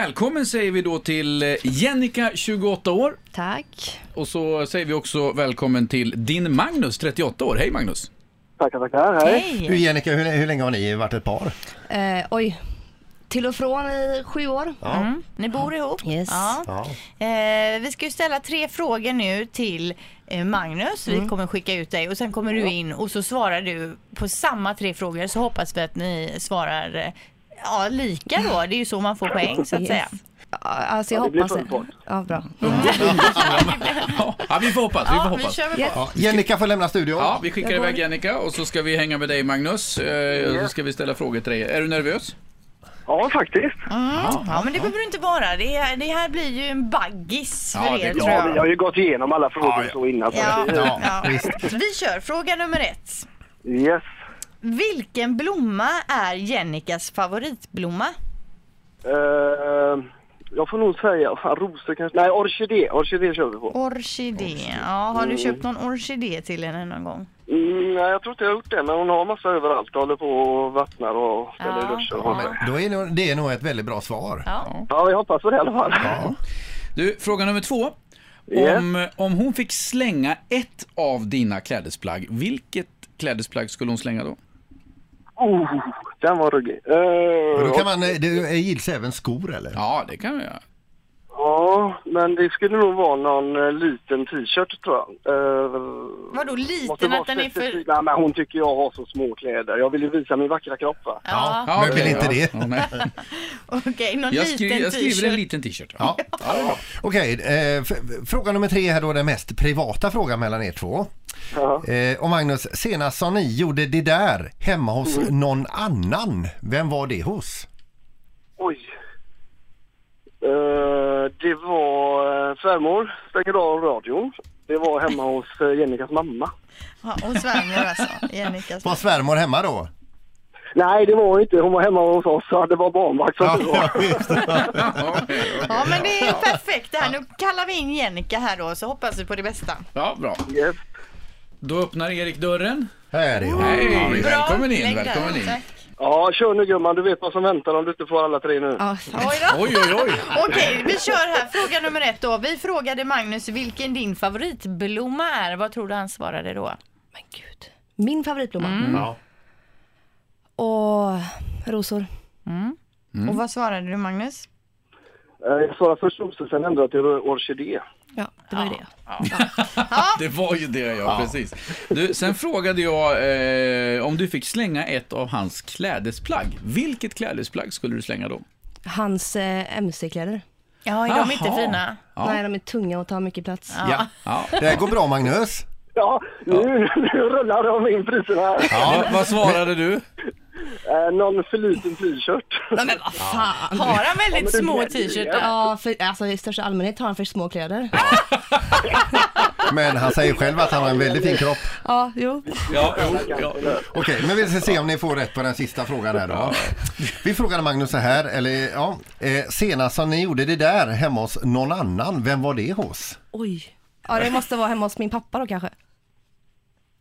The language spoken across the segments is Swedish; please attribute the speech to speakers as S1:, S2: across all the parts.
S1: Välkommen säger vi då till eh, Jennica, 28 år.
S2: Tack.
S1: Och så säger vi också välkommen till din Magnus, 38 år. Hej Magnus!
S3: Tackar, tackar. Hej.
S2: Hej.
S4: Du Jennica, hur, hur länge har ni varit ett par?
S2: Eh, oj. Till och från i sju år.
S4: Ja.
S5: Mm. Ni bor ihop?
S2: Yes.
S5: Ja.
S4: Ja.
S5: Eh, vi ska ju ställa tre frågor nu till eh, Magnus. Vi kommer skicka ut dig och sen kommer du in och så svarar du på samma tre frågor så hoppas vi att ni svarar eh, ja, lika då. Det är ju så man får poäng så att
S2: Yes.
S5: säga.
S2: Ja, Alltså jag
S3: Ja, det blir
S2: hoppas
S3: full fart.
S2: Ja, bra.
S1: Ja, vi får hoppas, vi får
S5: vi
S1: hoppas.
S5: kör väl på.
S4: Ja. Jennica får lämna studion.
S1: Ja, vi skickar iväg Jennica och så ska vi hänga med dig Magnus. Eh, Så ska vi ställa frågor till dig. Är du nervös?
S3: Ja, faktiskt.
S5: Mm. Ja, men det behöver du inte vara. Det, är- det här blir ju en baggis för
S1: Ja, det är
S5: er
S1: klart.
S5: tror
S3: Ja, vi har
S5: jag.
S3: ju gått igenom alla frågor
S1: Ja, ja.
S3: så innan. Så
S5: Ja,
S3: det-
S5: ja. Vi kör fråga nummer ett.
S3: Yes.
S5: Vilken blomma är Jennikas favoritblomma?
S3: Eh, jag får nog säga, fan, rosor kanske. Nej, orkidé. Orkidé kör vi på.
S5: Orkidé. Ja, har du köpt någon orkidé till henne någon gång?
S3: Mm, nej, jag tror inte jag har gjort det, men hon har massa överallt. Jag håller på och vattnar och ställer
S5: Ja.
S3: dusch och ja.
S4: Då är nog- det är nog ett väldigt bra svar.
S5: Ja.
S3: ja, jag hoppas på det i alla fall.
S1: Du, fråga nummer två.
S3: Yes.
S1: Om, om hon fick slänga ett av dina klädesplagg, vilket klädesplagg skulle hon slänga då?
S3: Oh, den var ruggig. Eh,
S4: Och Då kan man, eh, det eh, gills även skor eller?
S1: Ja, det kan vi göra.
S3: Ja, men det skulle nog vara någon eh, liten t-shirt tror jag. Uh,
S5: Vadå
S3: måste
S5: liten
S3: vara
S5: att den är för...
S3: specifik. Nej, men hon tycker jag har så små kläder. Jag vill ju visa min vackra kropp va.
S5: Ja,
S1: Ja,
S4: Men vill inte det.
S1: Ja, nej.
S5: okej. Någon
S1: jag,
S5: liten
S1: skri jag skriver en
S5: t-shirt.
S1: liten t-shirt.
S4: Ja. Okej, eh, f- f- fråga nummer tre här då, den mest privata frågan mellan er två.
S3: Ja.
S4: Eh, och Magnus, senast som ni gjorde det där hemma hos någon annan, vem var det hos?
S3: Oj. Eh, det var uh, svärmor stängde av radion. Det var hemma hos uh, Jennikas mamma.
S5: Ja, och svärmor alltså. Jennikas.
S4: Var svärmor hemma då?
S3: Nej, det var inte. Hon var hemma hos oss. Ja, Det var barnvakt. Så det var.
S4: just det.
S1: Ja, okej, okej.
S5: Ja men det är ju perfekt det här. Nu kallar vi in Jennika här då så hoppas vi på det bästa.
S1: ja, bra.
S3: Yes.
S1: Då öppnar Erik dörren.
S4: Här är hon.
S1: Hej, välkommen in,
S5: Lägg där.
S1: välkommen in.
S5: Tack.
S3: Ja, kör nu gumman. Du vet vad som väntar om du inte får alla tre nu.
S2: Ja, fan.
S5: Oj då.
S1: Oj, oj, oj.
S5: Okej, vi kör här. Fråga nummer ett då. Vi frågade Magnus vilken din favoritblomma är. Vad tror du han svarade då?
S2: Men gud. Min favoritblomma.
S4: Ja.
S2: Och rosor.
S1: Mm.
S5: Och vad svarade du Magnus?
S3: Eh, jag svarade först rosor, sen ändrade jag till or- orkidé.
S2: Ja,
S1: Det
S2: det var ju det.
S1: var ju det, ja, precis. Du, sen frågade jag eh, om du fick slänga ett av hans klädesplagg. Vilket klädesplagg skulle du slänga då?
S2: Hans eh, mc-kläder.
S5: Ja, är de inte
S1: Jaha.
S5: fina?
S1: Ja.
S2: Nej, de är tunga och tar mycket plats.
S4: Ja.
S1: Ja.
S4: Det här går bra Magnus.
S3: Ja, nu, nu rullar de in priserna här.
S1: Va- vad svarade du?
S3: Eh, någon för liten t-shirt.
S2: Nej, men vad fan.
S5: Har han väldigt
S3: Ja, men
S5: små
S3: det-
S5: t-shirtar?
S2: Ja, för, alltså i största allmänhet har han för små kläder.
S4: Men han säger själv att han har en väldigt fin kropp.
S2: Ja, jo.
S1: Ja, jo, ja.
S4: Okej, men vi ska se om ni får rätt på den sista frågan här då. Vi frågade Magnus så här, eller ja, eh, senast som ni gjorde det där hemma hos någon annan, vem var det hos?
S2: Oj. Ja, det måste vara hemma hos min pappa då kanske.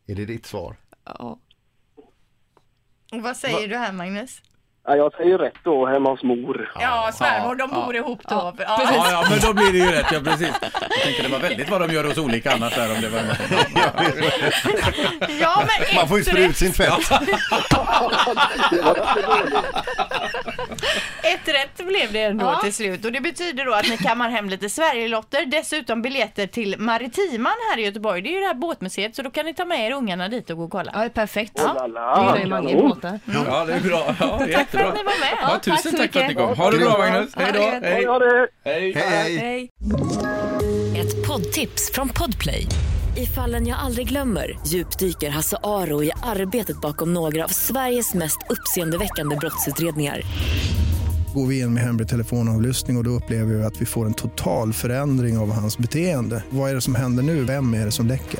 S4: Är det ditt svar?
S2: Ja.
S5: Vad säger du här Magnus?
S3: Ja, jag säger rätt då, hemma hos mor.
S5: Ja, svärmor, de bor ihop då. Ja.
S1: Ja, ja, men då blir det ju rätt, ja precis. Jag tänkte det var väldigt vad de gör hos olika annars där om det var
S5: Ja, men
S4: Man får ju
S5: ett
S4: sprä ut sin tvätt.
S5: Ett rätt blev det ändå
S2: Ja.
S5: till slut och det betyder då att ni kammar hem lite Sverigelotter, dessutom biljetter till Maritiman här i Göteborg. Det är ju det här båtmuseet så då kan ni ta med er ungarna dit och gå och kolla.
S2: Ja, det är perfekt.
S3: Ja.
S2: Ja. Det gillar ju många båtar.
S1: Ja, det är bra. Ja, det är
S5: Tack för
S1: jättebra.
S5: att ni var med.
S1: Ja,
S2: tack så
S1: tusen tack för att ni
S2: mycket.
S1: kom. Ha det bra Magnus. Hej
S2: Ha det
S1: då.
S2: gött.
S1: Hej.
S3: Ja, det
S1: Hej.
S4: Hej, hej.
S2: Hej.
S6: Ett poddtips från Podplay. I fallen jag aldrig glömmer djupdyker Hasse Aro i arbetet bakom några av Sveriges mest uppseendeväckande brottsutredningar.
S7: går vi in med hemlig telefonavlyssning och, och då upplever vi att vi får en total förändring av hans beteende. Vad är det som händer nu? Vem är det som läcker?